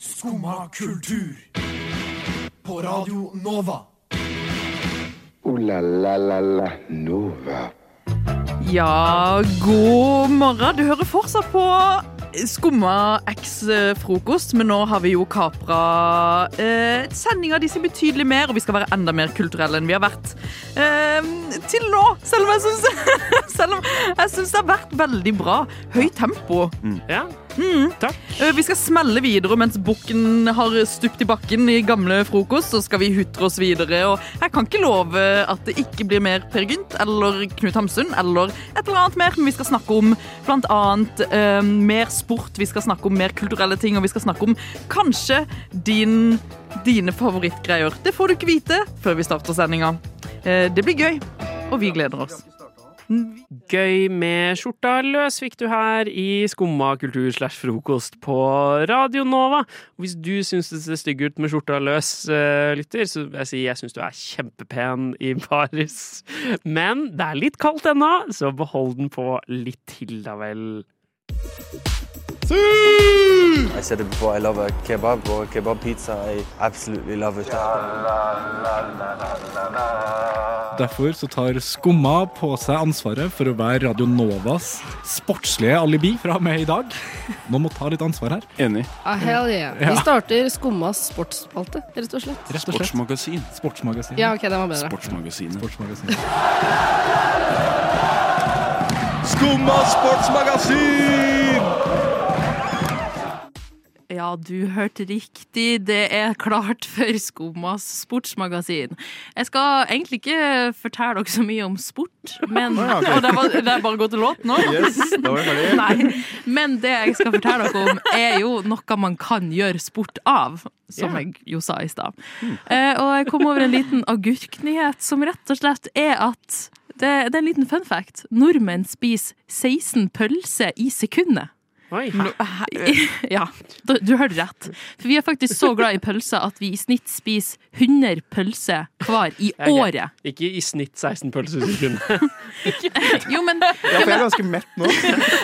Skumma kultur. På Radio Nova. Ooh la la la la Nova. Ja, god morgen. Du hører fortsatt på Skumma X-frokost, men nå har vi jo kapra eh, sendinga de som betydelig mer, og vi skal være enda mer kulturelle enn vi har vært eh, til nå. Selv om jeg syns, selv om jeg syns det har vært veldig bra. Høyt tempo. Ja, takk. Eh, Vi skal smelle videre mens bukken har stupt i bakken i gamle frokost. Så skal vi hutre oss videre. Og jeg kan ikke love at det ikke blir mer Per Gynt eller Knut Hamsun eller et eller annet mer. Men vi skal snakke om blant annet eh, mer sport, vi skal snakke om mer kulturelle ting, og vi skal snakke om kanskje din, dine favorittgreier. Det får du ikke vite før vi starter sendinga. Eh, det blir gøy, og vi gleder oss. Gøy med skjorta løs fikk du her i Skumma kultur slash frokost på Radio Nova. Og hvis du syns det ser stygg ut med skjorta løs, eh, lytter, så vil jeg si jeg syns du er kjempepen i baris. Men det er litt kaldt ennå, så behold den på litt til, da vel. I said it before, I love a kebab or a kebab pizza. I absolutely love it. Derfor så tar Skumma på seg ansvaret for å være Radio Novas sportslige alibi fra og med i dag. Noen må ta litt ansvar her. Enig. Ah, hell yeah. Vi starter Skummas sportsspalte, rett og slett. Rett og slett. Sportsmagasin. Sportsmagasin. Ja, ok, den var bedre. Sportsmagasinet. Sportsmagasin. Skumma sportsmagasin! Ja, du hørte riktig. Det er klart for Skomas sportsmagasin. Jeg skal egentlig ikke fortelle dere så mye om sport, men Og det er bare- det er bare å gå til låt nå. Nei. Men det jeg skal fortelle dere om, er jo noe man kan gjøre sport av. Som jeg jo sa i stad. Eh, og jeg kom over en liten agurknyhet som rett og slett er at det, det er en liten fun fact. Nordmenn spiser 16 pølser i sekundet. Oi. Hæ? Ja, du, du hørte rett. For vi er faktisk så glad i pølser at vi i snitt spiser 100 pølser hver i Ja, ok. året. Ikke i snitt 16 pølser i sekundet. Jo, men jeg Ja, for jeg er ganske mett nå.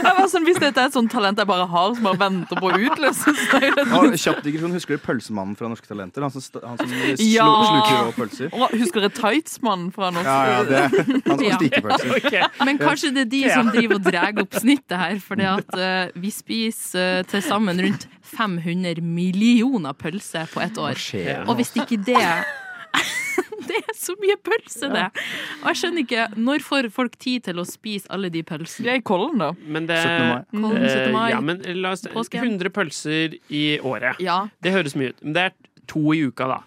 var sånn, Hvis dette er et sånt talent jeg bare har, som bare venter på å utløses så er det- Og kjapp digresjon, Husker du Pølsemannen fra Norske Talenter? Han som, st- han som slu, Ja. sluker rå pølser? Å, Husker dere Tightsmannen fra Ja, ja, norsk? det Han som Ja. stikker pølser. Ok. Men kanskje det er de som driver og drar opp snittet her, for eh, vi spiser til sammen rundt 500 millioner pølser på ett år. Skjer. Og hvis ikke det Det er så mye pølse, det! Og jeg skjønner ikke, når får folk tid til å spise alle de pølsene? Det er i Kollen, da. Men det 17. mai. Kollen 17. mai. Eh, Ja, men la oss Påske. 100 pølser i året. Ja. Det høres mye ut. Men det er to i uka, da.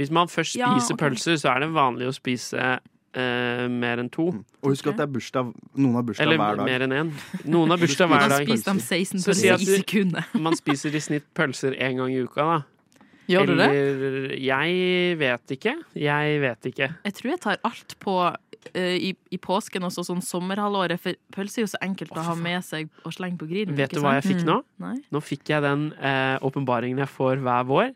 Hvis man først Ja, spiser ok. pølser, så er det vanlig å spise eh, mer enn to. Og husk at det er bursdag, noen har bursdag Eller Mm, hver dag. mer enn én. Noen har bursdag hver Da Da dag. spiser de spiser de 16 Så si pølser at i pølser i du- sekundet. Man spiser i snitt pølser én gang i uka, da. Gjør du det? Eller Jeg vet ikke. Jeg vet ikke. Jeg tror jeg tar alt på eh, i, i påsken og sånn sommerhalvåret, for pølse er jo så enkelt å ha med seg og slenge på grillen. Vet du hva jeg Mm. fikk nå? Nei. Nå fikk jeg den eh, åpenbaringen jeg får hver vår.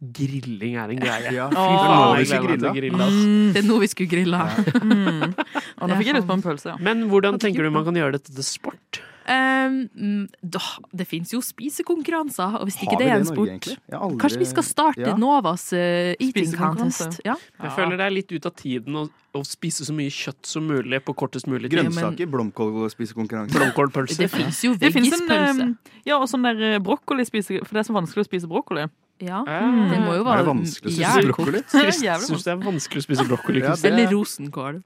Grilling er en greie. Ja, Åh. fy faen, gleder jeg gleder meg til å grille, grille, ass. ass. Det er nå vi skulle grilla. Mm. nå fikk jeg lyst på en pølse, ja. Men hvordan Hadde ikke tenker du gjort man kan gjøre dette til sport? Um, Mm, da, det fins jo spisekonkurranser, og hvis Har ikke vi det er det i en Norge, sport egentlig? Jeg har aldri- Kanskje vi skal starte Ja. Novas eh, eating Spisekonkurranse. contest? Ja. Jeg føler det er litt ut av tiden å, å spise så mye kjøtt som mulig på kortest mulig tid. Grønnsaker, blomkålspisekonkurranse. Det ehm, Blomkålpølser. fins jo Det fins en veggispølse. eh, Ja, og sånn der eh, broccoli spise, For det er så vanskelig å spise broccoli. Ja. Mm. Det må jo Er det være vanskelig å spise jævlig brokkoli? Det er jævlig Syns det er vanskelig å spise brokkoli. Ja, Kristin. det- Eller rosenkål.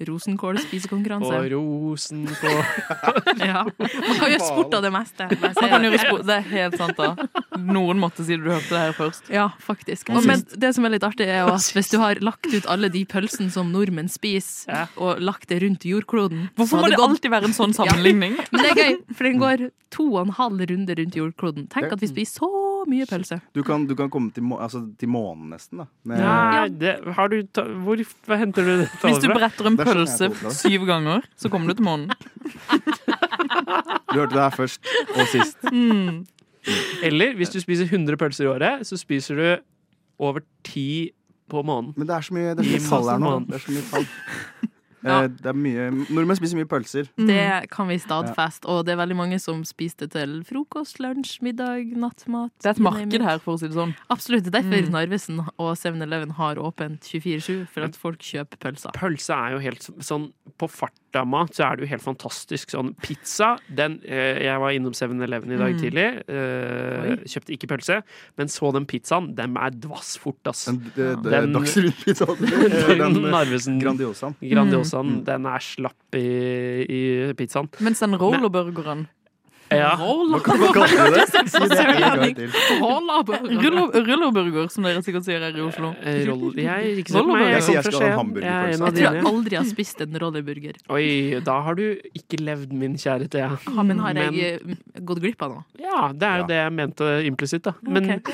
Rosenkål Og spisekonkurranse. rosenkål Ja. Man kan gjøre sport av det meste. bare Man kan si det. gjøre spo- det er helt sant, da. Noen måtte si det. Du hørte det her først. Ja, faktisk. Og, men det som er litt artig, er jo at hvis du har lagt ut alle de pølsene som nordmenn spiser, Ja. og lagt det rundt jordkloden så Hvorfor må hadde det gått- alltid være en sånn sammenligning? Men det er gøy, for den går to og en halv runde rundt jordkloden. Tenk at vi spiser så mye pølse. Du kan, du kan komme til, må, altså, til månen nesten, da. Med, Nei, det, har du ta, Hvor hva henter du det Hvis du tallet fra? bretter en Det er sånn pølse jeg tror det. syv ganger, så kommer du til månen. Du hørte det her først og sist. Eller hvis du spiser 100 pølser i året, så spiser du over 10 på måneden. Men det er så mye, det er så mye I tall her nå. månen. Det er så mye tall. Eh, det er mye, nordmenn spiser mye pølser. Det kan vi stadfeste. Og det er veldig mange som spiser det til frokost, lunsj, middag, nattmat. Det er et you name it. marked her, for å si det sånn. Absolutt. det er Derfor Narvesen og 7-Eleven har åpent 24-7, for at folk kjøper pølser. Pølse er jo helt sånn På farta-mat så er det jo helt fantastisk. Sånn pizza den, eh, Jeg var innom 7-Eleven i dag tidlig. eh, kjøpte ikke pølse, men så den pizzaen. Den er dvass fort, ass. Den, det, det, Den- Dagsrevyen-pizza. Den, eh, Mm. Narvesen Grandiosaen. Grandiosaen. Den er slapp i, i pizzaen. Mens den rollerburgeren Ja. Hva kan man kalle det? Si det en gang til. Ruller- Rullerburger, som dere sikkert sier her i Oslo. Eh, Roll, jeg ikke Roll- sett meg. Jeg sier kommer jeg fra skal ha en Skien. hamburgerpølse. Jeg er en av Jeg tror jeg dine. aldri har spist en rollerburger. Oi, da har du ikke levd, min kjære Thea. Ja, men har jeg eh, gått glipp av noe? Ja, det er jo Ja. det jeg mente implisitt, da. Men eh,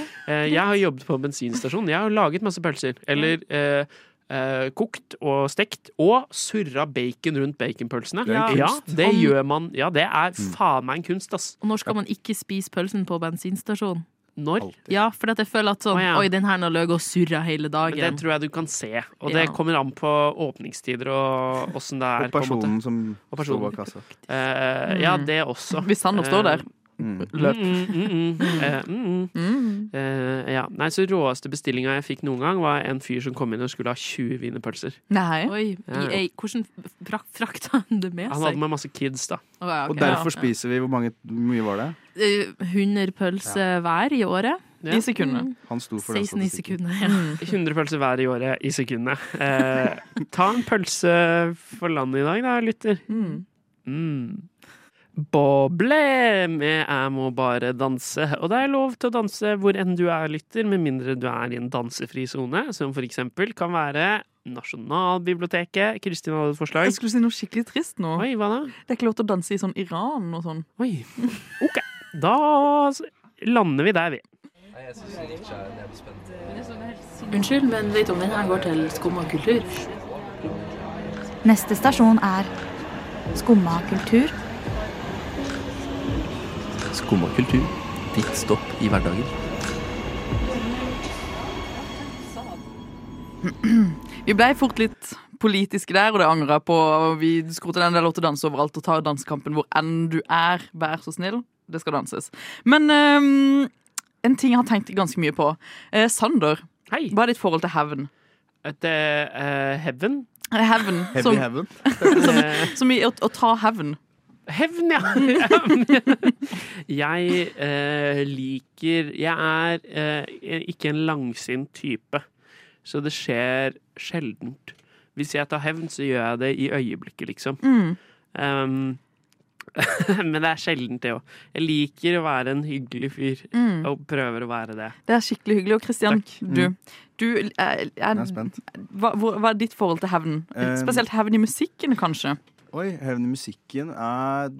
jeg har jobbet på bensinstasjon. Jeg har laget masse pølser. Eller eh, eh, kokt og stekt. Og surra bacon rundt baconpølsene. Det er en Ja, kunst. Mm. det gjør man. Ja, det er faen meg en kunst, ass. Og når skal man ikke spise pølsen på bensinstasjon? Når? Ja, for at jeg føler at sånn Å, ja. Oi, den her har løyet og surra hele Men Det dagen. tror jeg du kan se, og Ja. det kommer an på åpningstider og åssen det er. Og på en måte. personen som Og står personen. bak kassa. Eh, ja, det også. Hvis han oppstår der. Mm. Løp. Mm, mm, mm, mm. Eh, mm, mm. Eh, ja. Nei, så råeste bestillinga jeg fikk noen gang, var en fyr som kom inn og skulle ha 20 wienerpølser. Nei. Oi, i Ja. ei, hvordan frak- frakta han det med Han hadde seg? med masse kids, da. Å, ja, Og ok. derfor spiser vi Hvor mange, hvor mye var det? Eh, 100 pølser hver i året. I sekundet. Han sto for den 16 i statistikken. sekundet. Ja. 100 pølser hver i året i sekundet. Eh, ta en pølse for landet i dag, da, lytter. Mm. Boble med 'Jeg må bare danse'. Og det er lov til å danse hvor enn du er, lytter, med mindre du er i en dansefri sone, som for eksempel kan være Nasjonalbiblioteket. Kristin hadde et forslag. Jeg skulle si noe skikkelig trist nå. Oi, hva da? Det er ikke lov til å danse i sånn Iran og sånn. Oi. Ok, da lander vi der, vi. Unnskyld, men vet du om den her går til skum og kultur? Neste stasjon er Skumma kultur. Skumma kultur. Ditt stopp i hverdagen. Vi ble fort litt politiske der, og det angrer jeg på. Vi skrota den der lov til å danse overalt og ta dansekampen hvor enn du er. Vær så snill, det skal danses. Men ehm, en ting jeg har tenkt ganske mye på. Eh, Sander, Hei. hva er ditt forhold til hevn? Et, eh, heaven. Eh, Hevn, Heavy som, heaven. Eh, som i å, å ta hevn. Hevn, ja! jeg eh, liker Jeg er eh, ikke en langsint type, så det skjer sjeldent. Hvis jeg tar hevn, så gjør jeg det i øyeblikket, liksom. Um, men det er sjeldent, det òg. Jeg liker å være en hyggelig fyr, og prøver å være det. Det er skikkelig hyggelig. Og Kristian, du, du eh, er, Mm. Jeg er spent. hva, hvor, hva er ditt forhold til hevn? Eh, Spesielt hevn i musikken, kanskje? Oi, hevn i musikken er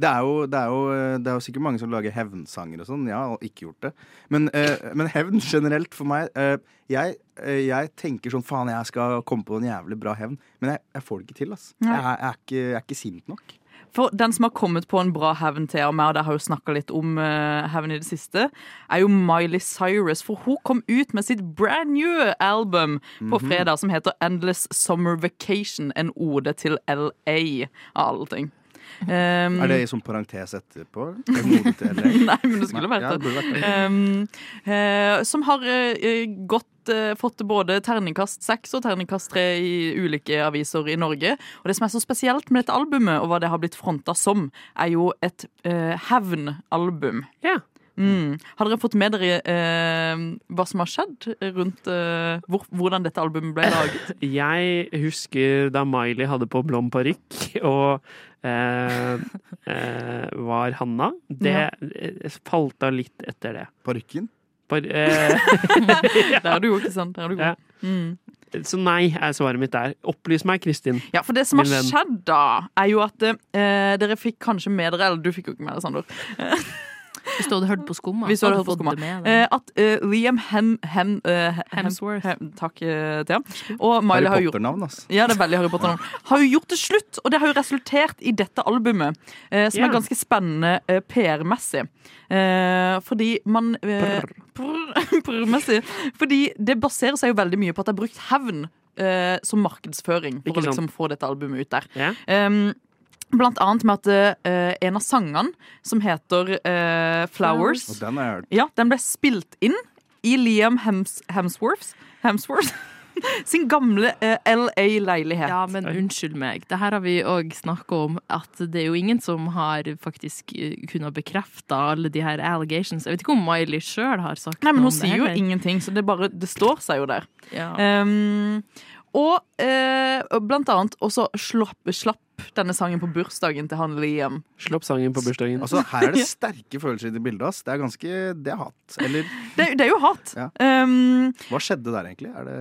det er, jo, det, er jo, det er jo sikkert mange som lager hevnsanger og sånn. Jeg har ikke gjort det. Men, eh, men hevn generelt for meg eh, jeg, eh, jeg tenker sånn faen, jeg skal komme på en jævlig bra hevn. Men jeg, jeg får det ikke til, ass. Jeg, er- jeg, er ikke, jeg er ikke sint nok. For den som har kommet på en bra hevn til og meg, og der har jo snakka litt om eh, hevn i det siste, er jo Miley Cyrus. For hun kom ut med sitt brand new album Mhm. på fredag som heter Endless Summer Vacation. En ode til LA, av alle ting. Um, Er det i sånn parentes etterpå? En mode til LA? Nei, men det skulle Nei, vært ja, det. det burde vært det. Um, eh, som har eh, gått, eh, fått både terningkast 6 og terningkast 3 i ulike aviser i Norge. Og det som er så spesielt med dette albumet, og hva det har blitt fronta som, er jo et eh, hevnalbum. Ja. Mm. Har dere fått med dere eh, hva som har skjedd rundt eh, hvor, hvordan dette albumet ble laget? Jeg husker da Miley hadde på blond parykk og eh, eh, var Hanna. Det eh, falt av litt etter det. Parykken? Par, eh, Der er du jo, ikke sant? Der er du god. Ja. så nei er svaret mitt der. Opplys meg, Kristin. Ja, for det som har Min venn. skjedd da, er jo at eh, dere fikk kanskje med dere, eller du fikk jo ikke med deg, Sander, Hvis du hadde hørt på skumma, Hvis du hadde hørt på fått Skumma. det med deg. Eh, at eh, Liam Hem, Hem, eh, Hem, Hemsworth. Hem Takk, eh, Thea. Og Harry Miley har gjort Potter-navn, ass. ja, det er veldig Harry Potter navn. Har jo gjort det slutt, og det har jo resultert i dette albumet. Eh, som Ja. er ganske spennende eh, PR-messig. Eh, fordi man eh, prr- prr-messig. Fordi det baserer seg jo veldig mye på at det er brukt hevn. eh, eh, som markedsføring, for å Ikke sant. liksom få dette albumet ut der. Ja. Em, blant annet med at eh, en av sangene, som heter eh, Flowers, Og den har jeg hørt. ja, den ble spilt inn i Liam Hems Hemsworths Hemsworth sin gamle eh, LA-leilighet. Ja, men unnskyld meg. Det her har vi òg snakka om, at det er jo ingen som har faktisk eh, kunnet bekrefte alle de her allegations. Jeg vet ikke om Miley sjøl har sagt Nei, men noe hun om det sier jo Eh, heller. ingenting, så det, bare, det står seg jo der. Ja. Em, og eh, blant annet også slapp, slapp denne sangen på bursdagen til han Liam. Slå opp sangen på bursdagen. Altså, her er det sterke følelser i det bildet. Ass. Det er ganske Det er hat. Eller Det, det er jo hat. Ja. Em, hva skjedde der, egentlig? Er det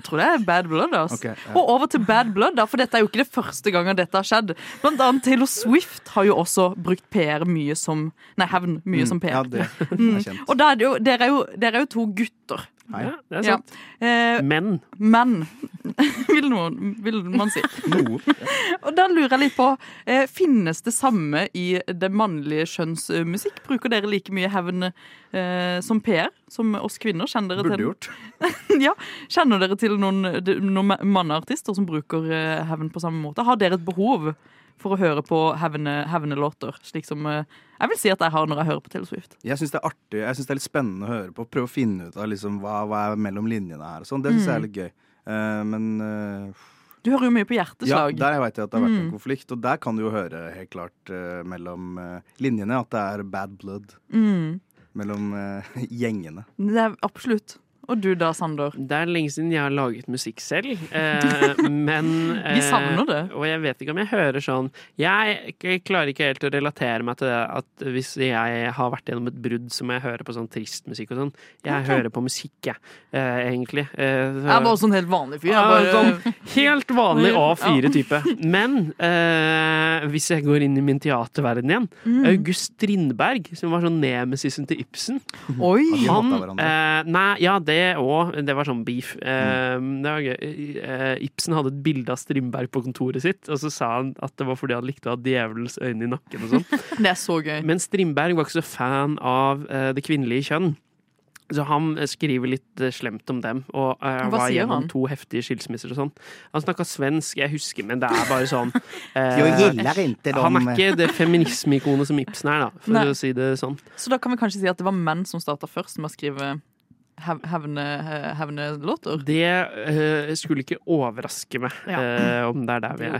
jeg tror det er Bad Blood. ass. Ok, ja. Og over til Bad Blood, da, for dette er jo ikke det første gangen dette har skjedd. Blant annet Taylor Swift har jo også brukt PR mye som Nei, hevn mye som PR. Mm. Ja, det er kjent. Og da er det jo, dere, er jo, dere er jo to gutter. Hei. Ja, det er Ja. sant. Eh, Men men vil, noen, vil man si. Noe. Og da lurer jeg litt på eh, Finnes det samme i det mannlige skjønns eh, musikk? Bruker dere like mye hevn eh, som PR som oss kvinner? Kjenner dere Burde til, gjort. ja, kjenner dere til noen, de- noen ma- manneartister som bruker eh, hevn på samme måte? Har dere et behov for å høre på hevne- hevnelåter? Slik som eh, jeg vil si at jeg har når jeg hører på Taylor Swift. Jeg syns det er artig Jeg synes det er litt spennende å høre på. Prøve å finne ut av liksom, hva, hva er mellom linjene her. og Sånn. Det syns Mm. jeg er litt gøy. Eh, men eh, Du hører jo mye på ja, hjerteslag. der veit jeg at det har vært Mm. en konflikt, og der kan du jo høre helt klart eh, mellom eh, linjene at det er bad blood. Mm. Mellom eh, gjengene. Det er absolutt. Og du da, Sander? Det er lenge siden jeg har laget musikk selv. Eh, men eh, Vi savner det. Og jeg vet ikke om jeg hører sånn Jeg k- klarer ikke helt å relatere meg til det at hvis jeg har vært gjennom et brudd, så må jeg høre på sånn trist musikk og sånn. Jeg hører på musikk, jeg, eh, egentlig. Eh, så- Jeg er bare sånn helt vanlig fyr. Ja, Jeg bare, sånn helt vanlig Ja. A4-type. Men eh, hvis jeg går inn i min teaterverden igjen Mm. August Strindberg, som var sånn nemesisen til Ibsen Oi! De han, hatet hverandre. eh, nei, ja, det òg. Det var sånn beef. Eh, Mm. det var gøy. Eh, Ibsen hadde et bilde av Strindberg på kontoret sitt, og så sa han at det var fordi han likte å ha djevelens øyne i nakken og sånn. Det er så gøy. Men Strindberg var ikke så fan av eh, det kvinnelige kjønn. Så han eh, skriver litt eh, slemt om dem, og eh, Hva var sier gjennom han? to heftige skilsmisser og sånn. Han snakka svensk, jeg husker, men det er bare sånn Jeg eh, gillar inte Han dem. er ikke det feminismeikonet som Ibsen er, da, for Nei. å si det sånn. Så da kan vi kanskje si at det var menn som starta først med å skrive hev- hevne, he- hevnelåter? Det eh, skulle ikke overraske meg eh, om det er der vi er. Det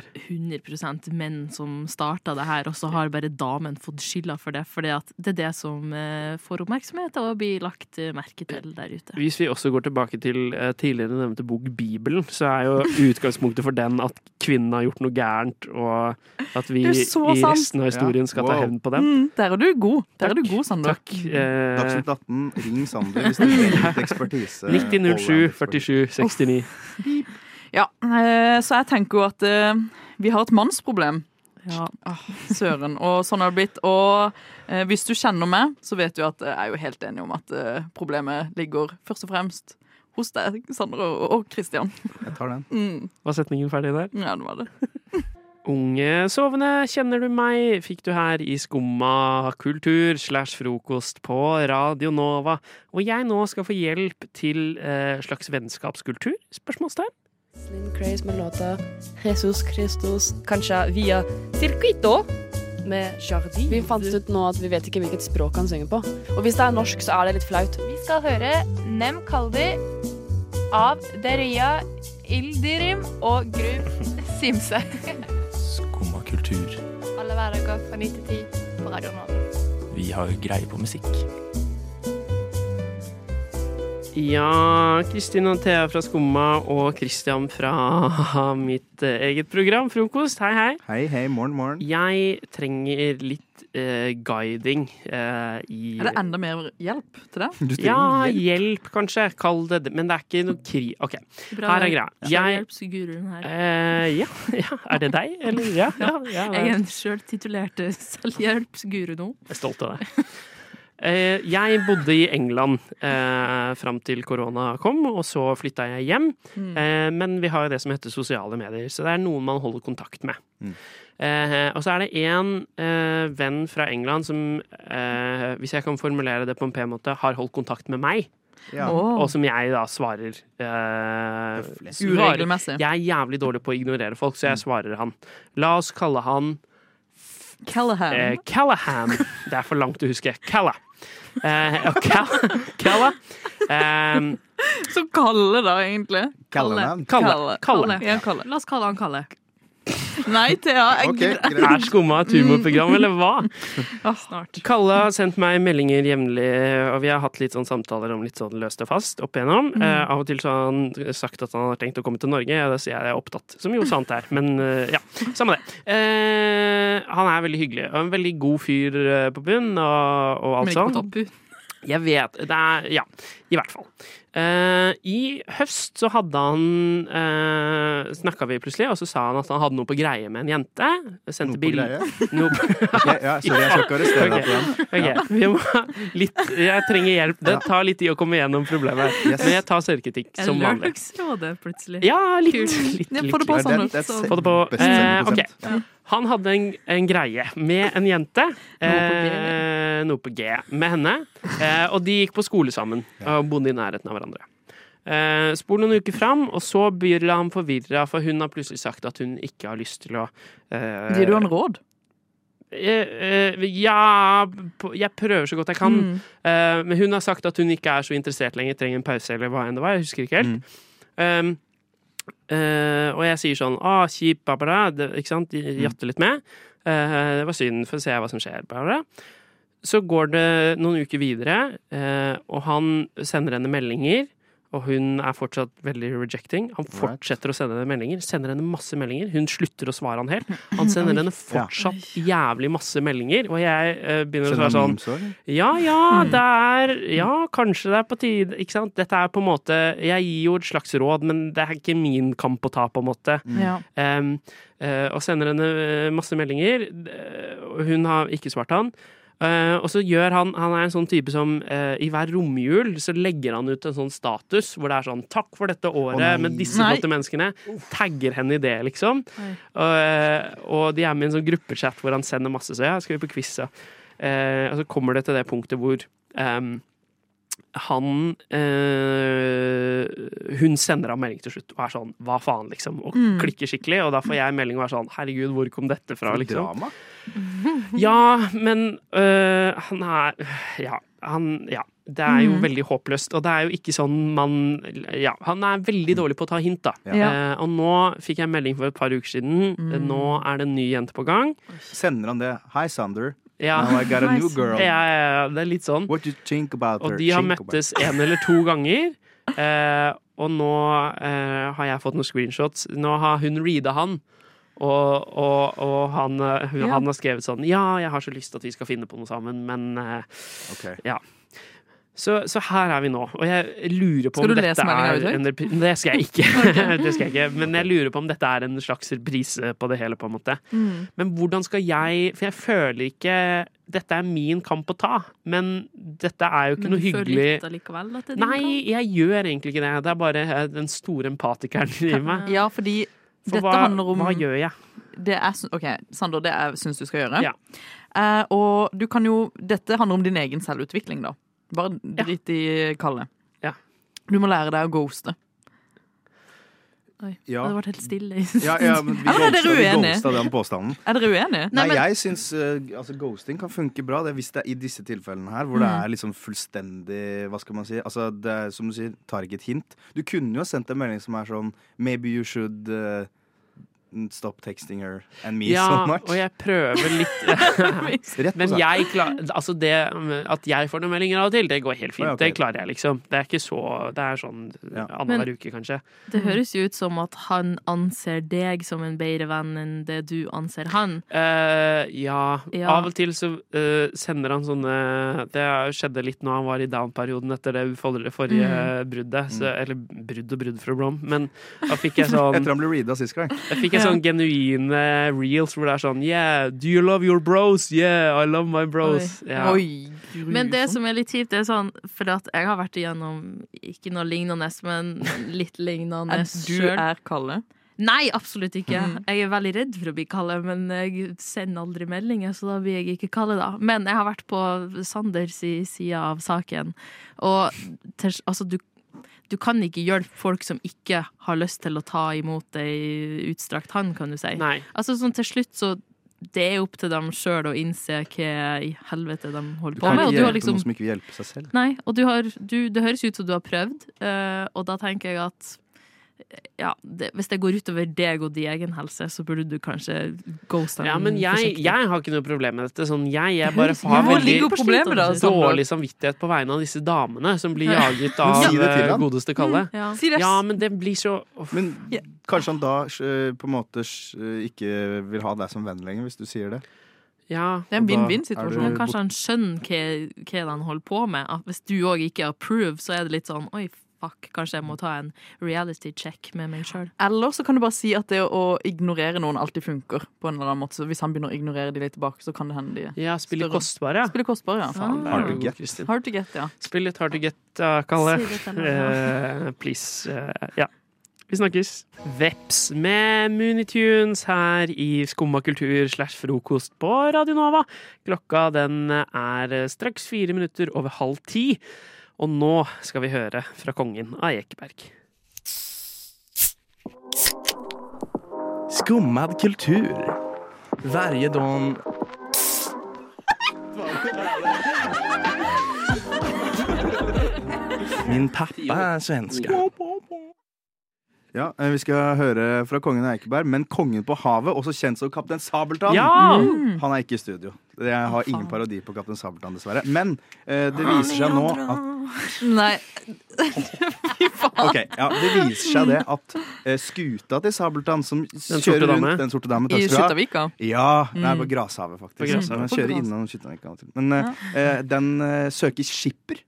er jo 100 menn som starta det her, og så har bare damen fått skylda for det. For det er det som eh, får oppmerksomhet og blir lagt eh, merke til der ute. Hvis vi også går tilbake til eh, tidligere nevnte bok Bibelen, så er jo utgangspunktet for den at kvinnen har gjort noe gærent, og at vi i Det er så sant. resten av historien skal ta Wow. hevn på den. Mm, der er du god, Der er du god sånn, Sander. Takk. Eh, Dagsnytt 18, ring Sander hvis dere trenger litt ekspertise. 9007 47 69. Ja, eh, Så jeg tenker jo at eh, vi har et mannsproblem. Ja. Åh, søren. Og sånn har det blitt. Og eh, hvis du kjenner meg, så vet du at jeg er jo helt enig om at eh, problemet ligger først og fremst hos deg, Sander og, og Christian. Jeg tar den. Mm, Var setningen ferdig der? ja, det var det. Unge sovende, kjenner du meg? Fikk du her i Skumma kultur slash frokost på Radio Nova. Og jeg nå skal få hjelp til eh, slags vennskapskultur? Spørsmålstegn? Slim Craze med låta Jesus Christus, kanskje via Circuito med Jardi. Vi fant ut nå at vi vet ikke hvilket språk han synger på. Og hvis det er norsk, så er det litt flaut. Vi skal høre Nem Kaldi av Deria Ildirim og Gru Simse. Skumma kultur. Alle hverdager fra 9 til 10 på Radio Nova. Vi har greie på musikk. Ja, Kristin og Thea fra Skumma og Christian fra mitt eh, eget program, Frokost. Hei, hei. Hei, hei, morgen, morgen. Jeg trenger litt eh, guiding eh, i Er det enda mer hjelp til det? Du Ja, trenger hjelp. hjelp, kanskje. Kall det det. Men det er ikke noe kri... OK, Bra her er greia. Jeg selvhjelpsguruen her. Eh, ja. ja. Er det deg, eller? Ja. ja, ja, Jeg er en sjøltitulert selvhjelpsguru nå. Jeg er stolt av deg. Eh, Jeg bodde i England eh, fram til korona kom, og så flytta jeg hjem. Mm. Eh, men vi har jo det som heter sosiale medier, så det er noen man holder kontakt med. Eh, og så er det én eh, venn fra England som, eh, hvis jeg kan formulere det på en pen måte, har holdt kontakt med meg. Ja. Åh. Og som jeg da svarer eh, svarer- Uregelmessig. Jeg er jævlig dårlig på å ignorere folk, så jeg svarer han. La oss kalle han Callahan. Eh, Callahan. Det er for langt å huske. Calla. Eh, og Calla, Calla. eh, Så Kalle, da, egentlig. Callahan. Kalle. Kalle. Kalle. Ja, Kalle. La oss kalle han Kalle. Nei, Thea. Jeg er skumma et humorprogram, eller hva? Snart. Kalle har sendt meg meldinger jevnlig, og vi har hatt litt sånn samtaler om litt sånn løst og fast opp igjennom. Mm. Eh, av og til så har han sagt at han har tenkt å komme til Norge, og da sier jeg jeg er opptatt, som jo sant er. Men eh, ja, samme det. Eh, han er veldig hyggelig, og en veldig god fyr eh, på bunn, og, og alt Men ikke sånt. på topp. Jeg vet det er, Ja, i hvert fall. Eh, I høst så hadde han uh, Snakka vi plutselig, og så sa han at han hadde noe på greie med en jente. Jeg Sendte Noe på bilde greie? Noe på- Ja, ja, sorry, jeg skal ikke arrestere deg Ok, på den. Ja. ok, Vi må litt, jeg trenger hjelp. Det tar litt tid å komme gjennom problemet. Yes. Men jeg tar selvkritikk Jeg som vanlig. lørdagsrådet, plutselig. Ja, litt. Kult. litt, litt Få det på litt. sånn. så- Få det på. Eh, ok. konsept. Ja. Han hadde en, en greie med en jente. Eh, noe på G med henne. Eh, og de gikk på skole sammen og bodde i nærheten av hverandre. Eh, Spol noen uker fram, og så blir han forvirra, for hun har plutselig sagt at hun ikke har lyst til å eh, Gir du han råd? Eh, eh, Ja på- Jeg prøver så godt jeg kan. Mm. Eh, Men hun har sagt at hun ikke er så interessert lenger, trenger en pause eller hva enn det var. Jeg husker ikke helt. Mm. Um, eh, og jeg sier sånn ah, kjip, bla, bla, bla», det, ikke sant? Mm. De Jatter litt med. Eh, det var synd, for å se hva som skjer. Bla, bla. bla. Så går det noen uker videre, eh, og han sender henne meldinger. Og hun er fortsatt veldig rejecting. Han Right. fortsetter å sende henne meldinger. Sender henne masse meldinger. Hun slutter å svare han helt. Han sender Oi. henne fortsatt jævlig masse meldinger, og jeg eh, begynner å svare Sender han sånn memes også, eller? Ja, ja, det er Ja, kanskje det er på tide Ikke sant? Dette er på en måte Jeg gir jo et slags råd, men det er ikke min kamp å ta, på en måte. Mm. Ja. Em, eh, og sender henne eh, masse meldinger, eh, og hun har ikke svart han. Eh, og så gjør han Han er en sånn type som eh, i hver romjul så legger han ut en sånn status hvor det er sånn 'Takk for dette året nei. med disse Nei. flotte menneskene'. Tagger henne i det, liksom. Oi. Og, eh, og de er med i en sånn gruppechat hvor han sender masse, så ja, skal vi på quiz, da. Eh, og så kommer det til det punktet hvor ehm, han eh, Hun sender ham melding til slutt og er sånn 'hva faen', liksom. Og Mm. klikker skikkelig. Og da får jeg melding og er sånn 'herregud, hvor kom dette fra', For liksom. drama. Ja, men øh, han er Ja. Han, ja. Det er jo Mhm. veldig håpløst, og det er jo ikke sånn man Ja, han er veldig dårlig på å ta hint, da. Ja. Ja. Eh, og nå fikk jeg melding for et par uker siden. Nå er det en ny jente på gang. Sender han det? Hi, Sander. Ja. Now I got a Hi, new Sander. girl. Ja, ja, det er litt sånn. What you think about her? Og de har Think about- møttes en eller to ganger. Eh, og nå eh, har jeg fått noen screenshots. Nå har hun reada han. Og, og, og han, eh, hun, Ja. han har skrevet sånn Ja, jeg har så lyst til at vi skal finne på noe sammen, men eh, Ja. Så, så her er vi nå, og jeg lurer på Skal om du dette lese meldingen er ut høyt? en repri- Det skal jeg ikke. det skal jeg ikke. Men jeg lurer på om dette er en slags reprise på det hele, på en måte. Mm. Men hvordan skal jeg For jeg føler ikke Dette er min kamp å ta, men dette er jo ikke Men du noe føler hyggelig litt allikevel at det er din Nei, jeg gjør egentlig ikke det. Det er bare eh, den store empatikeren i meg. Ja, fordi For dette hva- handler om hva gjør jeg? Det er, syn- OK, Sander, det jeg syns du skal gjøre. Ja. Eh, og du kan jo Dette handler om din egen selvutvikling, da. Bare drit i Kalle. Ja. Du må lære deg å ghoste. Oi. Ja. Det har vært helt stille i Ja, ja, men vi Eller er dere ghosta- vi uenige? ghosta den påstanden. Er dere uenige? Nei, jeg syns eh, altså, ghosting kan funke bra det, er hvis det er i disse tilfellene her, hvor det Mm. er liksom fullstendig Hva skal man si? Altså, det er, som du sier, tar ikke et hint. Du kunne jo ha sendt en melding som er sånn Maybe you should eh, stop texting her and me ja, so much. og jeg prøver litt Rett på Men sak. jeg klarer Altså, det at jeg får noen meldinger av og til, det går helt fint. Ja, ok. Det klarer jeg, liksom. Det er ikke så Det er sånn Men- annenhver uke, kanskje. Det høres jo ut som at han anser deg som en bedre venn enn det du anser han. Eh, ja. Ja. Av og til så eh, sender han sånne Det skjedde litt når han var i down-perioden etter det forrige, forrige Mm. bruddet. Så, Mm. eller brudd og brudd fra Blom, men da fikk jeg sånn Etter han ble reada sist gang. Da fikk jeg sånn genuine reels hvor det er sånn Yeah, do you love your bros? Yeah, I love my bros. Oi. Ja. Oi, Men det som er litt kjipt, det er sånn For at jeg har vært igjennom ikke noe lignende, men litt lignende Er- du selv. er Kalle? Nei, absolutt ikke. Jeg er veldig redd for å bli kallet, men jeg sender aldri meldinger, så da blir jeg ikke kallet, da. Men jeg har vært på Sanders i sida av saken, og til, altså, du, du kan ikke hjelpe folk som ikke har lyst til å ta imot ei utstrakt hånd, kan du si. Altså, sånn til slutt så det er opp til dem sjøl å innse hva i helvete de holder Du på kan med. ikke og du har hjelpe noen liksom- som ikke vil hjelpe seg selv. Nei, og du har, du, det høres ut som du har prøvd, eh, og da tenker jeg at ja, det, hvis det går utover deg og din egen helse, så burde du kanskje ghoste dem Ja, men jeg, Sånn forsiktig. jeg har ikke noe problem med dette. Sånn, jeg, jeg Det bare høres- har Hvor ligger problemet da, Sånn- veldig Sandra? dårlig samvittighet på vegne av disse damene som blir Ja. jaget Men av si det til eh, han. godeste Kalle. Mm, ja. ja. Si det. men det blir så Men kanskje han da eh, på en måte eh, ikke vil ha deg som venn lenger, hvis du sier det. Ja. Det er en Og da vinn-vinn-situasjon. er du Men bort- kanskje han skjønner hva, hva han holder på med. At hvis du òg ikke approve, så er det litt sånn oi, fuck, kanskje jeg må ta en reality check med meg sjøl. Eller så kan du bare si at det å ignorere noen alltid funker. På en eller annen måte Så Hvis han begynner å ignorere de litt tilbake, så kan det hende de Ja, spiller kostbare, ja. Spiller kostbare, ja. Faen. Hard to get. Kristin. Hard to get, ja. Spill litt hard to get, da, Kalle. Si det til meg, ja. Eh, please. eh, ja. Vi snakkes. Veps med Moonitunes her i Skumma kultur slash frokost på Radio Nova. Klokka den er straks fire minutter over halv ti. Og nå skal vi høre fra kongen av Ekeberg. Skummad kultur. Varje dag... Min pappa er svenska. Ja, eh, Vi skal høre fra kongen av Eikeberg, men kongen på havet, også kjent som Kaptein Sabeltann, Ja! Mm. han er ikke i studio. Jeg har ingen parodi på Kaptein Sabeltann, dessverre. Men eh, det viser seg nå at Nei. Ok, ja, Det viser seg det at eh, skuta til Sabeltann, som sorte kjører dame. rundt den sorte dame I takk skal du ha. Skyttavika. Ja. Nei, Mm. på Grashavet, faktisk. På Grashavet. Den På kjører Gras- innom Skyttavika. av og til. Men eh, eh, den eh, søker skipper.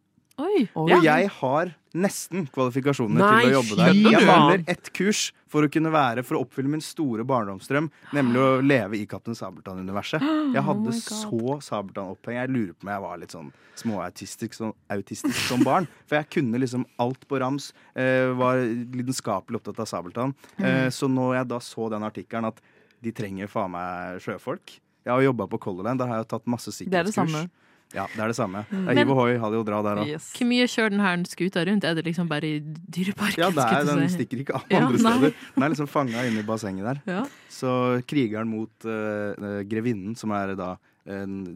Oi. Og jeg har nesten kvalifikasjoner Nei, til å jobbe der. skjønner Jeg du? mangler ett kurs for å kunne være For å oppfylle min store barndomsdrøm, nemlig å leve i Kaptein Sabeltann-universet. Jeg Oh my hadde God. så Sabeltann-oppheng. Jeg lurer på om jeg var litt sånn småautistisk sånn, autistisk som barn. For jeg kunne liksom alt på rams. eh, var lidenskapelig opptatt av Sabeltann. Eh, Mm. så når jeg da så den artikkelen at de trenger faen meg sjøfolk Jeg har jobba på Color Line, der har jeg tatt masse Det er det sikkerhetskurs. samme. Ja, det er det samme. Mm. Det er hiv ohoi, ha det og dra der òg. Hvor mye kjører den her skuta rundt? Er det liksom bare i dyreparken? Ja, det er, skulle den jeg si? stikker ikke av Ja, andre nei. steder. Den er liksom fanga inne i bassenget der. Ja. Så krigeren mot eh, eh, grevinnen, som er da eh,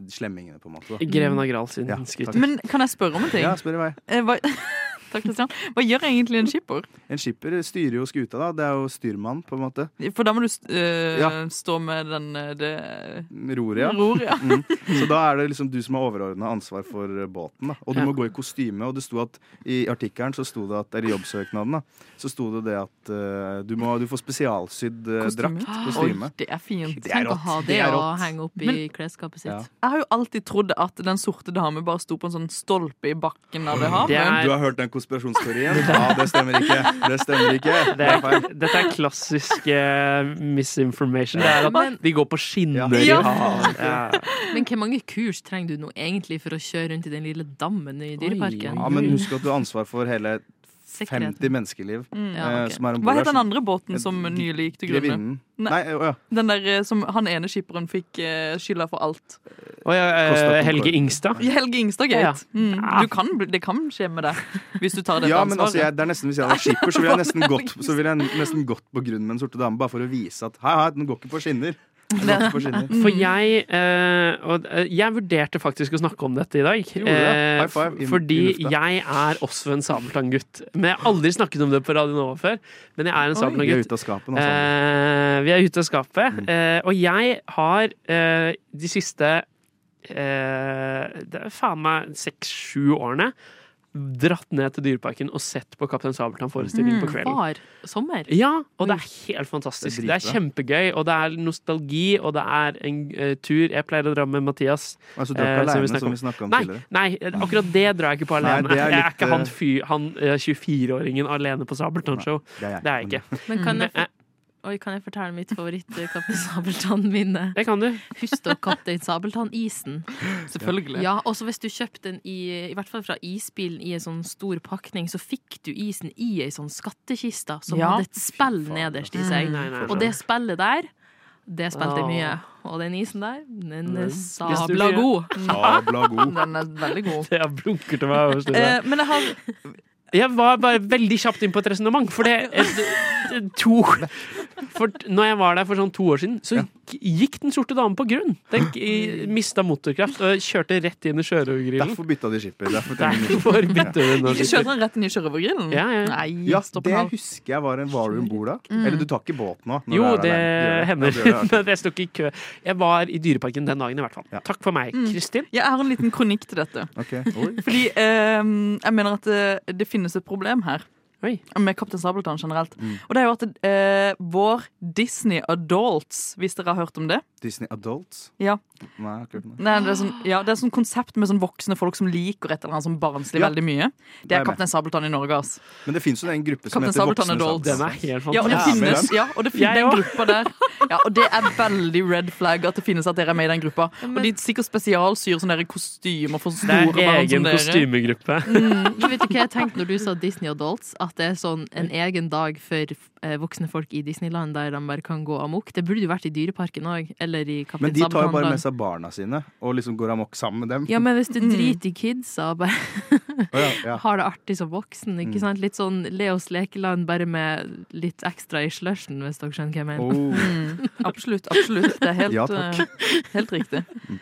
slemmingene, på en måte. Da. Greven av Gral sin takk. skuter. Men kan jeg spørre om en ting? Ja, spør i vei. Eh, Hva, takk, Kristian. Hva gjør egentlig en skipper? En skipper styrer jo skuta, da. Det er jo styrmann, på en måte. For da må du eh, Ja. stå med den eh, det, Roret, ja. Roret, ja. Mm. Så da er det liksom du som har overordna ansvar for eh, båten. Da. Og du må gå i kostyme. Og det sto at i artikkelen så sto det at, eller i jobbsøknaden da, så sto det det at eh, du, må, du får spesialsydd eh, drakt. Ah, Kostyme. Oi, det er fint. Det er Tenk å rått. ha det, Det er å rått. henge opp i Men- klesskapet sitt. Ja. Jeg har jo alltid trodd at den sorte dame bare sto på en sånn stolpe i bakken Mm, av det havet. Du har hørt den konspirasjonsteorien? Ja, det stemmer ikke. Det stemmer ikke. Det er, dette er klassisk eh, misinformation. Det er Men- at de går på skinner i Ja. havet. Ja. Men hvor mange kurs trenger du nå egentlig for å kjøre rundt i den lille dammen i dyreparken? Ja, men husk at du har ansvar for hele Sikkerheten. 50 menneskeliv. Mm. eh, Ja, ok. som er Hva ombord der, het den så- andre båten Eh, som de- nylig gikk til Grevinnen. grunne? Nei, å, ja. Den der eh, som han ene skipperen fikk eh, skylda for alt. Og Costa ja, eh, Helge Concordia. Ingstad. Helge Ingstad, Ja, ja. greit. Mm. Du kan, bli- det kan skje med deg hvis du tar dette Ja, men ansvaret. altså, jeg, det er nesten, Hvis jeg var skipper, så ville jeg nesten gått, så ville jeg nesten gått på grunn med den sorte dame. Bare for å vise at hei, hei, den går ikke på skinner. Den går ikke på skinner. For jeg eh, og, eh, Jeg vurderte faktisk å snakke om dette i dag. du det? eh, High five inn- fordi i lufta. jeg er også en Sabeltann-gutt. Men jeg har aldri snakket om det på Radio Nova før. Men jeg er en Oi. Vi er Sabeltann-gutt. ute av Mm. skapet nå, altså. Eh, vi er ute av skapet. Eh, og jeg har eh, de siste eh, det er faen meg seks-sju årene dratt ned til Dyreparken og sett på Kaptein Sabeltann-forestilling Mm. på kvelden. Var sommer. Ja, og det er helt fantastisk. Det Det er er, kjempegøy, og det er nostalgi, og det er en eh, tur Jeg pleier å dra med Mathias. Altså, du drar eh, ikke alene, snakket som vi snakket om nei, tidligere. Nei, eh, akkurat det drar jeg ikke på Nei, alene. det er jeg er litt, ikke han, eh, fyr- han eh, 24-åringen alene på Sabeltann-show. Nei, det er jeg. Det er jeg ikke. Men kan jeg Men, få eh, Å Oi, kan jeg fortelle mitt favoritt-Kaptein Sabeltann-minne? Det kan du. Husk dere Kaptein Sabeltann-isen. Selvfølgelig. Ja, også hvis du kjøpte den i, i hvert fall fra isbilen i en sånn stor pakning, så fikk du isen i ei sånn skattkiste som Ja. hadde et spill nederst i seg. Mm. Nei, nei, nei. Og det spillet der, det spilte jeg mye. Åh. Og den isen der, den Den er spiste du sabla mye. god. Sabla god. Oh, mm. Den er veldig god. Det blunker til meg øverst i det. Eh, men jeg har Jeg var bare veldig kjapt inn på et resonnement, for det et- to For når jeg var der for sånn to år siden, så g- gikk Den sorte dame på grunn. Den g- mista motorkraft og kjørte rett inn i sjørøvergrillen. Derfor bytta de skipper. Derfor Derfor bytter hun nå ikke kjørt den rett inn i sjørøvergrillen. Ja, ja. Nei, Ja, stopp det nå. husker jeg var en varer om bord da. Mm. Eller du tar ikke båt nå? når Jo, du er det alene. Gjør hender. Ja, det gjør det. Men jeg sto ikke i kø. Jeg var i Dyreparken den dagen, i hvert fall. Takk for meg. Mm. Kristin? Ja, jeg har en liten kronikk til dette. Ok. Fordi eh, jeg mener at det, det finnes et problem her. Med Kaptein Sabeltann generelt. Og det er jo at eh, vår Disney Adults, hvis dere har hørt om det Disney Adults? Ja, Nei, jeg har ikke hørt om det. Nei, det, er sånn, ja det er sånn konsept med sånn voksne folk som liker et eller annet sånn barnslig Ja. veldig mye. Det Det er er med. Kaptein Sabeltann i Norge, ass. Men det finnes jo en gruppe som Kaptein heter Sabeltann Voksne Adults. Sabeltann. Ja, og det finnes, ja, og det finnes Jeg den også. gruppa der. Ja, og det er veldig red flag at det finnes at dere er med i den gruppa. Og de sikkert spesialsyr sånne der kostymer for Det store er barn som egen dere. Mm. kostymegruppe. Men Vet du hva Mm. jeg tenkte når du sa Disney Adults? At det er sånn en egen dag for eh, voksne folk i Disneyland der de bare kan gå amok. Det burde jo vært i Dyreparken òg, eller i Kaptein Men de tar jo bare Sabeltann-land. med seg barna sine og liksom går amok sammen med dem. Ja, men hvis du driter i kidsa og bare Å ja, ja. har det artig som voksen, ikke Mm. sant? Litt sånn Leos lekeland, bare med litt ekstra i slushen, hvis dere skjønner hva jeg mener. Oh. Mm, absolutt. absolutt. Det er helt, Ja, takk. eh, helt riktig.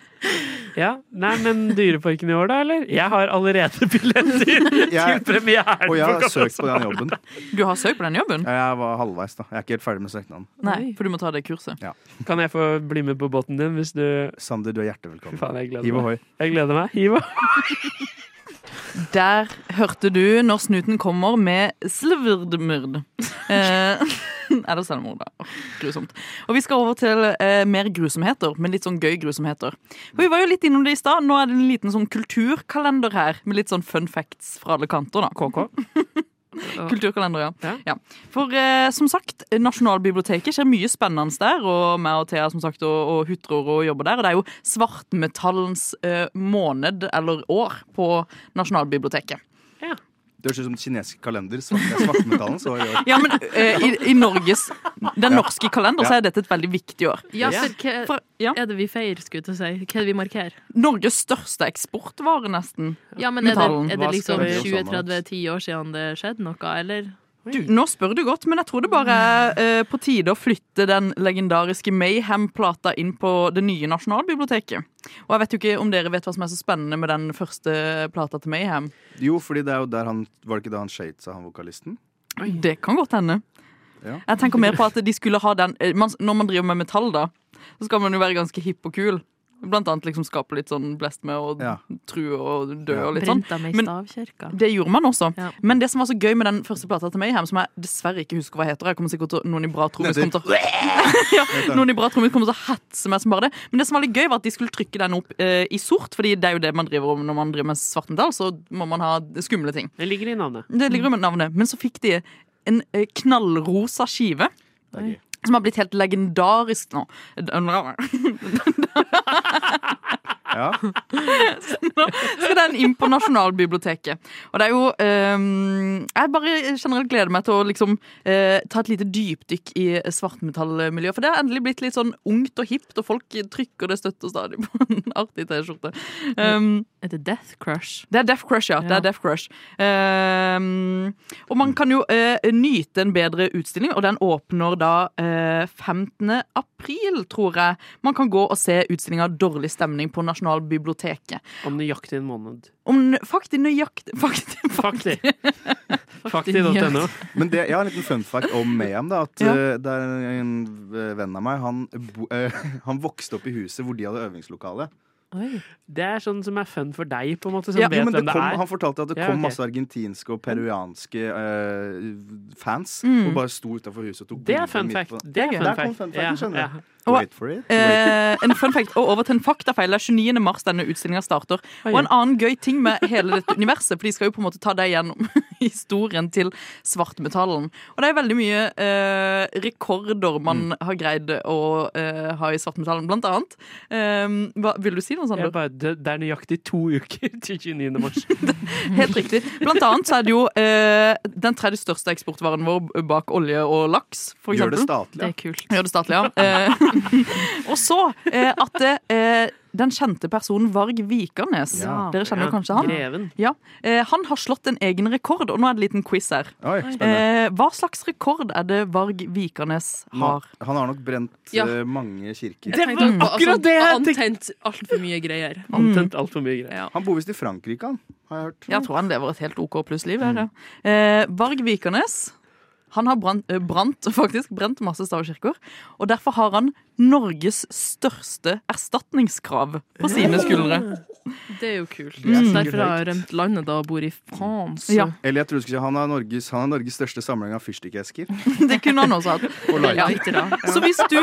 Ja, Nei, men Dyreparken i år, da, eller? Jeg har allerede billetter til premieren! Og jeg har på søkt på den jobben. Du har søkt på den jobben? Ja, Jeg var halvveis, da. Jeg er ikke helt ferdig med søknaden. Nei, for du må ta det kurset. Ja. Kan jeg få bli med på båten din hvis du Sander, du er hjertelig Fy faen, jeg gleder Hiv meg. ohoi. Jeg gleder meg. Hiv ohoi. Der hørte du Når snuten kommer med Slvrdmyrd. Eh, er det selvmord, da? Åh, Grusomt. Og vi skal over til eh, mer grusomheter, men litt sånn gøy grusomheter. For vi var jo litt innom det i stad. Nå er det en liten sånn kulturkalender her, med litt sånn fun facts fra alle kanter, da. Kulturkalender, ja. ja. For eh, som sagt, Nasjonalbiblioteket skjer mye spennende der, og meg og Thea som sagt, og, og hutrer og jobber der. Og det er jo svartmetallens eh, måned eller år på Nasjonalbiblioteket. Det høres ut som kinesisk kalender. Svart, svartmetallen, så var det Ja, men eh, i, i Norges, den Ja. norske kalender, så er dette et veldig viktig år. Ja, for hva er det vi feirer, skulle jeg til å si? Hva er det vi markerer? Norges største eksportvare, nesten. Ja, men er det, Metallen. er det liksom 20-30-10 år siden det skjedde noe, eller? Du, nå spør du godt, men jeg tror det bare er eh, på tide å flytte den legendariske Mayhem-plata inn på det nye Nasjonalbiblioteket. Og jeg vet jo ikke om dere vet hva som er så spennende med den første plata til Mayhem. Jo, fordi det er jo der han Var det ikke da han shades av han vokalisten? Det kan godt hende. Ja. Jeg tenker mer på at de skulle ha den eh, man, Når man driver med metall, da, så skal man jo være ganske hipp og kul. Blant annet liksom skape litt sånn blest med å Ja. true og dø og litt sånn. Brenta meg i Men stavkirka. det gjorde man også. Ja. Men det som var så gøy med den første plata til Mayhem, som jeg dessverre ikke husker hva heter Jeg kommer sikkert til å- Noen i bra trommis Nettopp. kommer til å ja, Noen i bra trommis kommer til å hetse meg som bare det. Men det som var litt gøy, var at de skulle trykke den opp eh, i sort, Fordi det er jo det man driver om når man driver med svart metall. Så må man ha skumle ting. Det ligger i navnet. Det ligger under navnet. Men så fikk de en eh, knallrosa skive. Som har blitt helt legendarisk nå. Ja. Så nå skal den inn på Nasjonalbiblioteket. Og det er jo ehm, Jeg bare generelt gleder meg til å liksom eh, ta et lite dypdykk i svartmetallmiljøet. For det har endelig blitt litt sånn ungt og hipt, og folk trykker det støtt og stadig på en artig T-skjorte. Ehm, Er det Death Crush? det er Death Crush, ja. Det er Death Crush. Ehm, og man kan jo eh, nyte en bedre utstilling, og den åpner da eh, 15. april, tror jeg. Man kan gå og se utstillinga Dårlig stemning på Nasjonalbiblioteket. Om nøyaktig en måned. Om faktisk nøyaktig Faktisk. Fakti. Fakti.no. Men det, jeg har en liten fun fact om Mayhem. Da, at Ja. eh, det er En eh, venn av meg han, bo, eh, han vokste opp i huset hvor de hadde øvingslokale. Det er sånn som er fun for deg, på en måte, som Ja, vet men det hvem det kom, er. han fortalte at det Ja, kom ok. masse argentinske og peruanske eh, fans Mm. og bare sto utafor huset og tok Det er bilder fun midt fact. på- Det er Der fun kom fact. fun facten, Ja, skjønner du. ja. Wait for it. Eh, en fun fact, og over til en faktafeil. Det er 29. mars denne utstillinga starter. Oi. Og en annen gøy ting med hele dette universet, for de skal jo på en måte ta deg gjennom historien til svartmetallen. Og det er veldig mye eh, rekorder man Mm. har greid å eh, ha i svartmetallen, blant annet. Eh, hva, vil du si noe, Sander? Jeg bare, det, det er nøyaktig to uker til 29. mars. Helt riktig. Blant annet så er det jo eh, den tredje største eksportvaren vår bak olje og laks, for Gjør det eksempel. statlig, ja. Det er kult. Gjør det statlig, ja. Eh, og så eh, at eh, den kjente personen Varg Vikernes, Ja. dere kjenner jo Ja, kanskje han? greven. Ja. Eh, han har slått en egen rekord, og nå er det en liten quiz her. Oi, spennende. eh, hva slags rekord er det Varg Vikernes Nå- har? Han har nok brent Ja. eh, mange kirker. Jeg tenkte Mm. Det var på- akkurat altså, det jeg Antent altfor mye greier. Antent altfor mye greier. Han bor visst i Frankrike, han. Har jeg hørt. Jeg tror han lever et helt OK pluss-liv. her, ja. Eh, Varg Vikernes han har brant, eh, brant, faktisk, brent masse stavkirker. Og derfor har han Norges største erstatningskrav på sine skuldre. Det er jo kult. Det er sikkert Derfor har høyt. jeg rømt landet da og bor i France. Eller jeg tror du skulle si han har Norges, han har Norges største samling av fyrstikkesker. Det kunne han også hatt. Og lighter. Ja. Så hvis du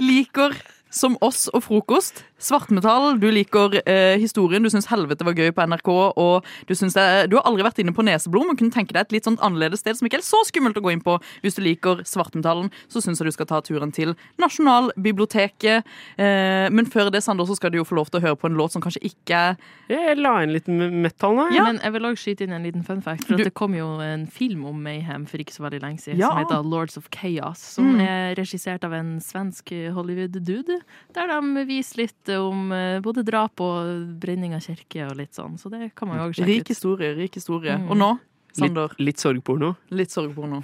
liker som oss og frokost, svartmetall, du liker eh, historien, du syns helvete var gøy på NRK, og du, syns det, er- du har aldri vært inne på Neseblom og kunne tenke deg et litt sånn annerledes sted som ikke er så skummelt å gå inn på. Hvis du liker svartmetallen, så syns jeg du skal ta turen til Nasjonalbiblioteket. Eh, men før det, Sander, så skal du jo få lov til å høre på en låt som kanskje ikke er Jeg la inn litt metal nå. Men jeg vil også skyte inn en liten fun fact. For at Det kom jo en film om Mayhem for ikke så veldig lenge siden Ja. som heter Lords of Chaos. Som Mm. er regissert av en svensk Hollywood-dude. Der de viser litt om eh, både drap og brenning av kirke og litt sånn. Så det kan man jo også sjekke Rik ut. historie, rik historie. Mm. Og nå, Sander Litt, litt sorgporno. Litt sorgporno.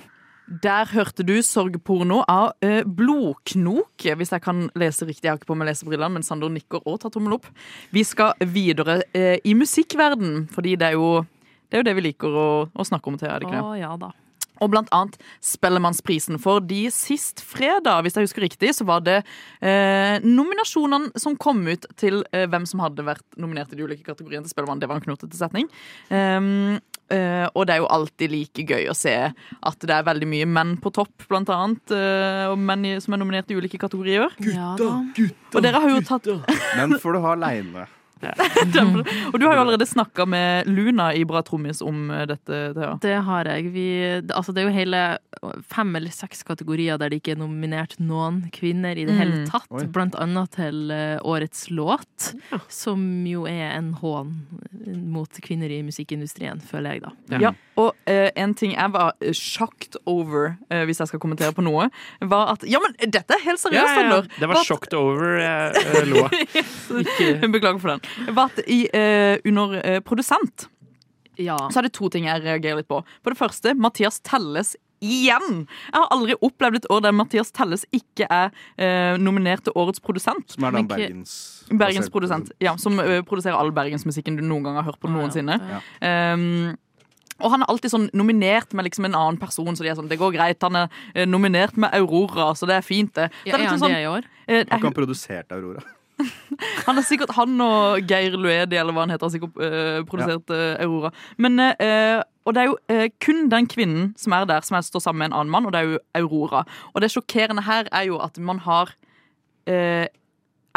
Der hørte du sorgporno av eh, Blodknok, hvis jeg kan lese riktig. Jeg har ikke på meg lesebrillene, men Sander nikker og tar tommel opp. Vi skal videre eh, i musikkverden, fordi det er jo det, er jo det vi liker å, å snakke om, Thea. Er det ikke det? Å, ja da. Og blant annet Spellemannsprisen, for de sist fredag, hvis jeg husker riktig, så var det eh, nominasjonene som kom ut til eh, hvem som hadde vært nominert i de ulike kategoriene til Spellemann. Det var en knotete setning. Ehm, eh, og det er jo alltid like gøy å se at det er veldig mye menn på topp, blant annet. eh, og menn i- som er nominert i ulike kategorier. Og dere har jo tatt Den får du ha aleine. Og du har jo allerede snakka med Luna i Bra trommis om eh, dette, Thea. Det har jeg. Vi, det- altså det er jo hele fem eller seks kategorier der det ikke er nominert noen kvinner i det Mm. hele tatt. Oi. Blant annet til eh, årets låt, som jo er en hån mot kvinner i musikkindustrien, føler jeg, da. Ja, og eh, en ting jeg var eh, shocked over, eh, hvis jeg skal kommentere på noe, var at Ja, men dette er helt seriøst, Sander! Det var shocked over jeg eh, lo av. Ikke- Beklager for den. Var at i, eh, under eh, produsent så er det to ting jeg reagerer litt på. På det første, Mathias Telles igjen! Jeg har aldri opplevd et år der Mathias Telles ikke er eh, nominert til årets produsent. Som er da Men ikke- Bergens- Bergens produsent, ja, som ø, produserer all bergensmusikken du noen gang har hørt på noensinne. Um, og han er alltid sånn nominert med liksom en annen person, så de er sånn, det går greit. Han er eh, nominert med Aurora, så det er fint, det. Så Ja, det er sånn liksom han det i år? eh, Har ikke han produsert Aurora? han er sikkert han og Geir Luedi, eller hva han heter, har sikkert eh, produsert eh, Aurora. Men, eh, og det er jo eh, kun den kvinnen som er der, som er, står sammen med en annen mann, og det er jo Aurora. Og det sjokkerende her er jo at man har uh,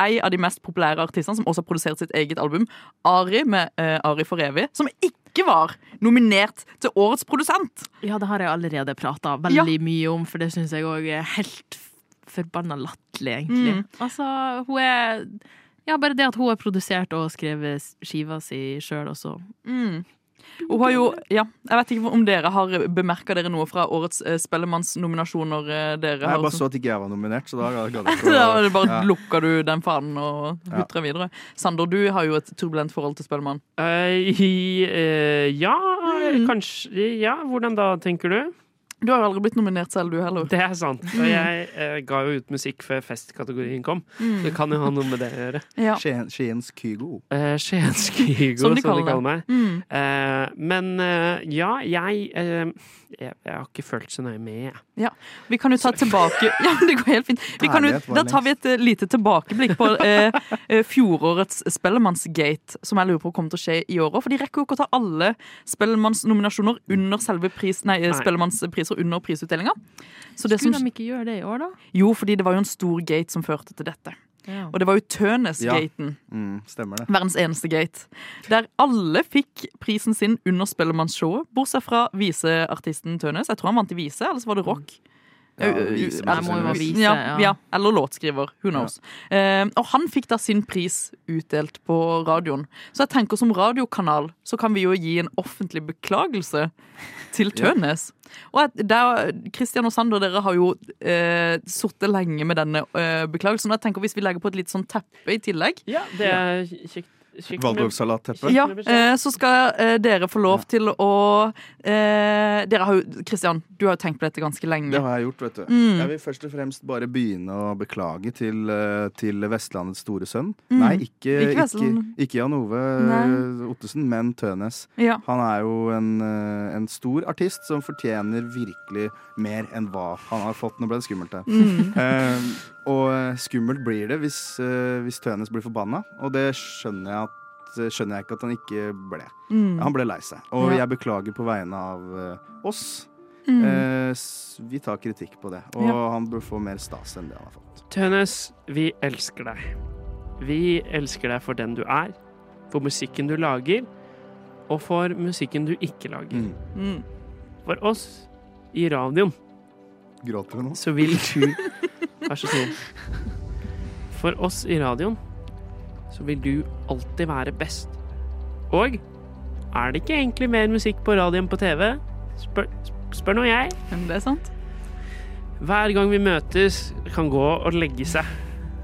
ei av de mest populære artistene, som også har produsert sitt eget album, Ari med eh, Ari for evig, som ikke var nominert til årets produsent. Ja, det har jeg allerede Ja. prata veldig mye om, for det syns jeg òg er helt f- forbanna latterlig, egentlig. Mm. Altså, hun er Ja, bare det at hun har produsert og skrevet skiva si sjøl også. Mm. Og Hun har jo, ja, jeg vet ikke om dere har bemerka dere noe fra årets eh, Spellemannsnominasjoner. eh, dere Nei, har jeg bare som- så at ikke jeg var nominert, så da ga jeg ikke å- Da var det bare Ja. lukker du den fanen og hutrer videre. Sander, du har jo et turbulent forhold til Spellemann. Eh, i, eh, ja, kanskje Ja, hvordan da, tenker du? Du har jo aldri blitt nominert selv, du heller. Det er sant. Og jeg eh, ga jo ut musikk før festkategorien kom, Mm. så det kan jo ha noe med det å gjøre. Ja. Skien, Skiens Kygo. Eh, Skiens Kygo, som de kaller, meg. Mm. Eh, men eh, ja, jeg, eh, jeg Jeg har ikke følt så nøye med, jeg. Ja, Vi kan jo ta tilbake Ja, men det går helt fint. Vi kan jo, Ærlighet var da tar vi et eh, lite tilbakeblikk på eh, eh, fjorårets Spellemannsgate, som jeg lurer på kommer til å skje i år òg. For de rekker jo ikke å ta alle Spellemannsnominasjoner under selve pris, nei, eh, Nei. Spellemannspriser under prisutdelinga. Så det Skulle som- de ikke gjøre det i år, da? Jo, fordi det var jo en stor gate som førte til dette. Og det var jo Tønesgaten. Ja. Mm, stemmer det. Verdens eneste gate. Der alle fikk prisen sin under Spellemannsshowet, bortsett fra viseartisten Tønes. Jeg tror han vant i vise, ellers var det rock. Ja, vise, Eller- må jo være vise, ja, ja. ja. Eller låtskriver. Who knows. Eh, og han fikk da sin pris utdelt på radioen. Så jeg tenker som radiokanal så kan vi jo gi en offentlig beklagelse til Ja. Tønes. Og at der, Christian og Sander, dere har jo eh, sittet lenge med denne eh, beklagelsen. Og jeg tenker hvis vi legger på et litt sånn teppe i tillegg Ja, det er kjekt. kjekt med- Waldorfsalatteppe. ja, eh, så skal eh, dere få lov til å eh, Dere har jo Christian, du har jo tenkt på dette ganske lenge. Det har jeg gjort, vet du. Mm. Jeg vil først og fremst bare begynne å beklage til, eh, til Vestlandets store sønn. Mm. Nei, ikke, Ikke ikke, ikke, Vestland. Jan Ove Nei. eh, Ottesen, men Tønes. Ja. Han er jo en, eh, en stor artist som fortjener virkelig mer enn hva han har fått. Nå ble det skummelt her. Mm. Eh, og eh, skummelt blir det hvis, eh, hvis Tønes blir forbanna, og det skjønner jeg, at, skjønner jeg ikke at han ikke ble. Mm. Han ble lei seg. Og Ja. jeg beklager på vegne av eh, oss. Mm. Eh, s- vi tar kritikk på det, og Ja. han bør få mer stas enn det han har fått. Tønes, vi elsker deg. Vi elsker deg for den du er, for musikken du lager, og for musikken du ikke lager. Mm. For oss i radioen Gråter du nå? Så vil du Vær så snill. For oss i radioen så vil du alltid være best. Og er det ikke egentlig mer musikk på radioen på TV? Spør, spør nå jeg. Det er sant. Hver gang vi møtes, kan gå og legge seg.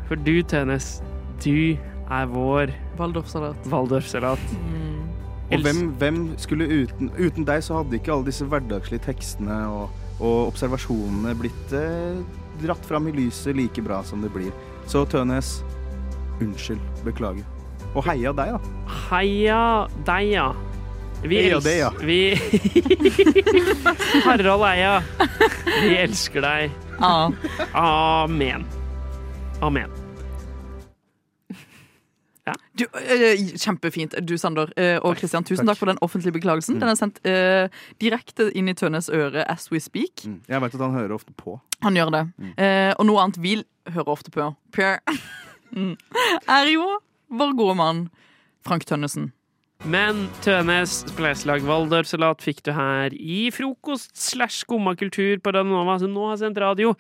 For du, Tønes, du er vår Waldorfsalat. Mm. Og hvem, hvem skulle uten, uten deg så hadde ikke alle disse hverdagslige tekstene og, og observasjonene blitt eh, dratt fram i lyset like bra som det blir. Så Tønes, unnskyld. Beklager. Og heia deg, da. Heia deg, ja. Vi Heia els- deg, ja. Vi Harald Eia, vi elsker deg. Ja. Amen. Amen. Du, eh, kjempefint, du Sander eh, og Kristian. Tusen takk for den offentlige beklagelsen. Den er sendt eh, direkte inn i Tønnes øre as we speak. Mm. Jeg veit at han hører ofte på. Han gjør det. Eh, og noe annet vi hører ofte på, Per, mm, er jo vår gode mann Frank Tønnesen. Men Tønes spleiselag Waldorfsalat fikk du her i frokost slash skummakultur på Radionova, som nå har sendt radio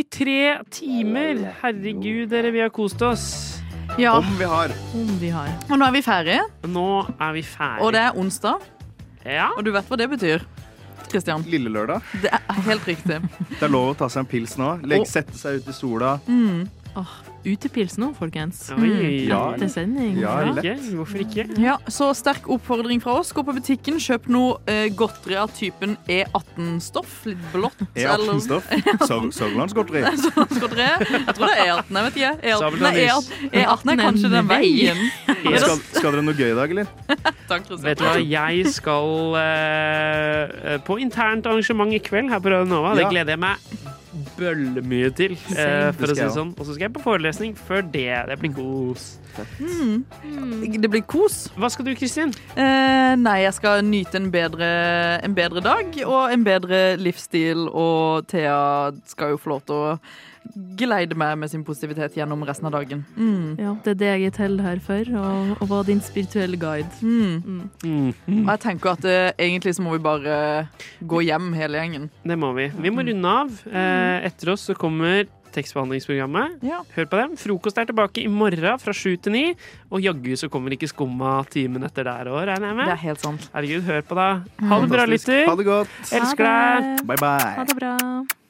i tre timer. Herregud, dere, vi har kost oss. Ja. Om vi har. Og nå er vi ferdige, Nå er vi ferdige. og det er onsdag. Ja. Og du vet hva det betyr, Kristian. Lille lørdag. Det er helt riktig. Det er lov å ta seg en pils nå. Legg, Og- sette seg ut i sola. Mm. Utepils nå, folkens. Oi, oi, oi. Etter sending. Ja, Ja. lett. Hvorfor ikke? Ja, så sterk oppfordring fra oss. Gå på butikken, kjøp noe eh, godteri av typen E18-stoff. Litt blått. eller- E18-stoff. Sørlandsgodteri. Sørlandsgodteri. Jeg tror det er E18, jeg vet ikke. E18, nei, Sabeltannis. E18, E18 er kanskje den veien. Skal, skal dere noe gøy i dag, eller? Takk, Kristian. Vet du hva, jeg skal eh, på internt arrangement i kveld her på Radio Nova. Det Ja. gleder jeg meg bøllemye til, eh, Same. for Det skal å si det jeg Mm. sånn. Og så skal jeg på forelesning før det. Det blir kos. Mm. Det blir kos. Hva skal du, Kristin? Eh, nei, jeg skal nyte en bedre, en bedre dag og en bedre livsstil. Og Thea skal jo få lov til å geleide meg med sin positivitet gjennom resten av dagen. Mm. Ja, det er det jeg er til her for, og, og var din spirituelle guide. Mm. Og jeg tenker at eh, egentlig så må vi bare gå hjem, hele gjengen. Det må vi. Vi må runde av. Eh, etter oss så kommer tekstbehandlingsprogrammet. Ja. Hør på dem. Frokost er tilbake i morgen fra sju til ni. Og jaggu så kommer ikke skumma timen etter der òg, regner jeg med. Det er helt sant. Herregud, hør på, da. Ha det bra, Fantastisk. lytter. Ha det godt. Elsker deg. Bye, bye. Ha det bra.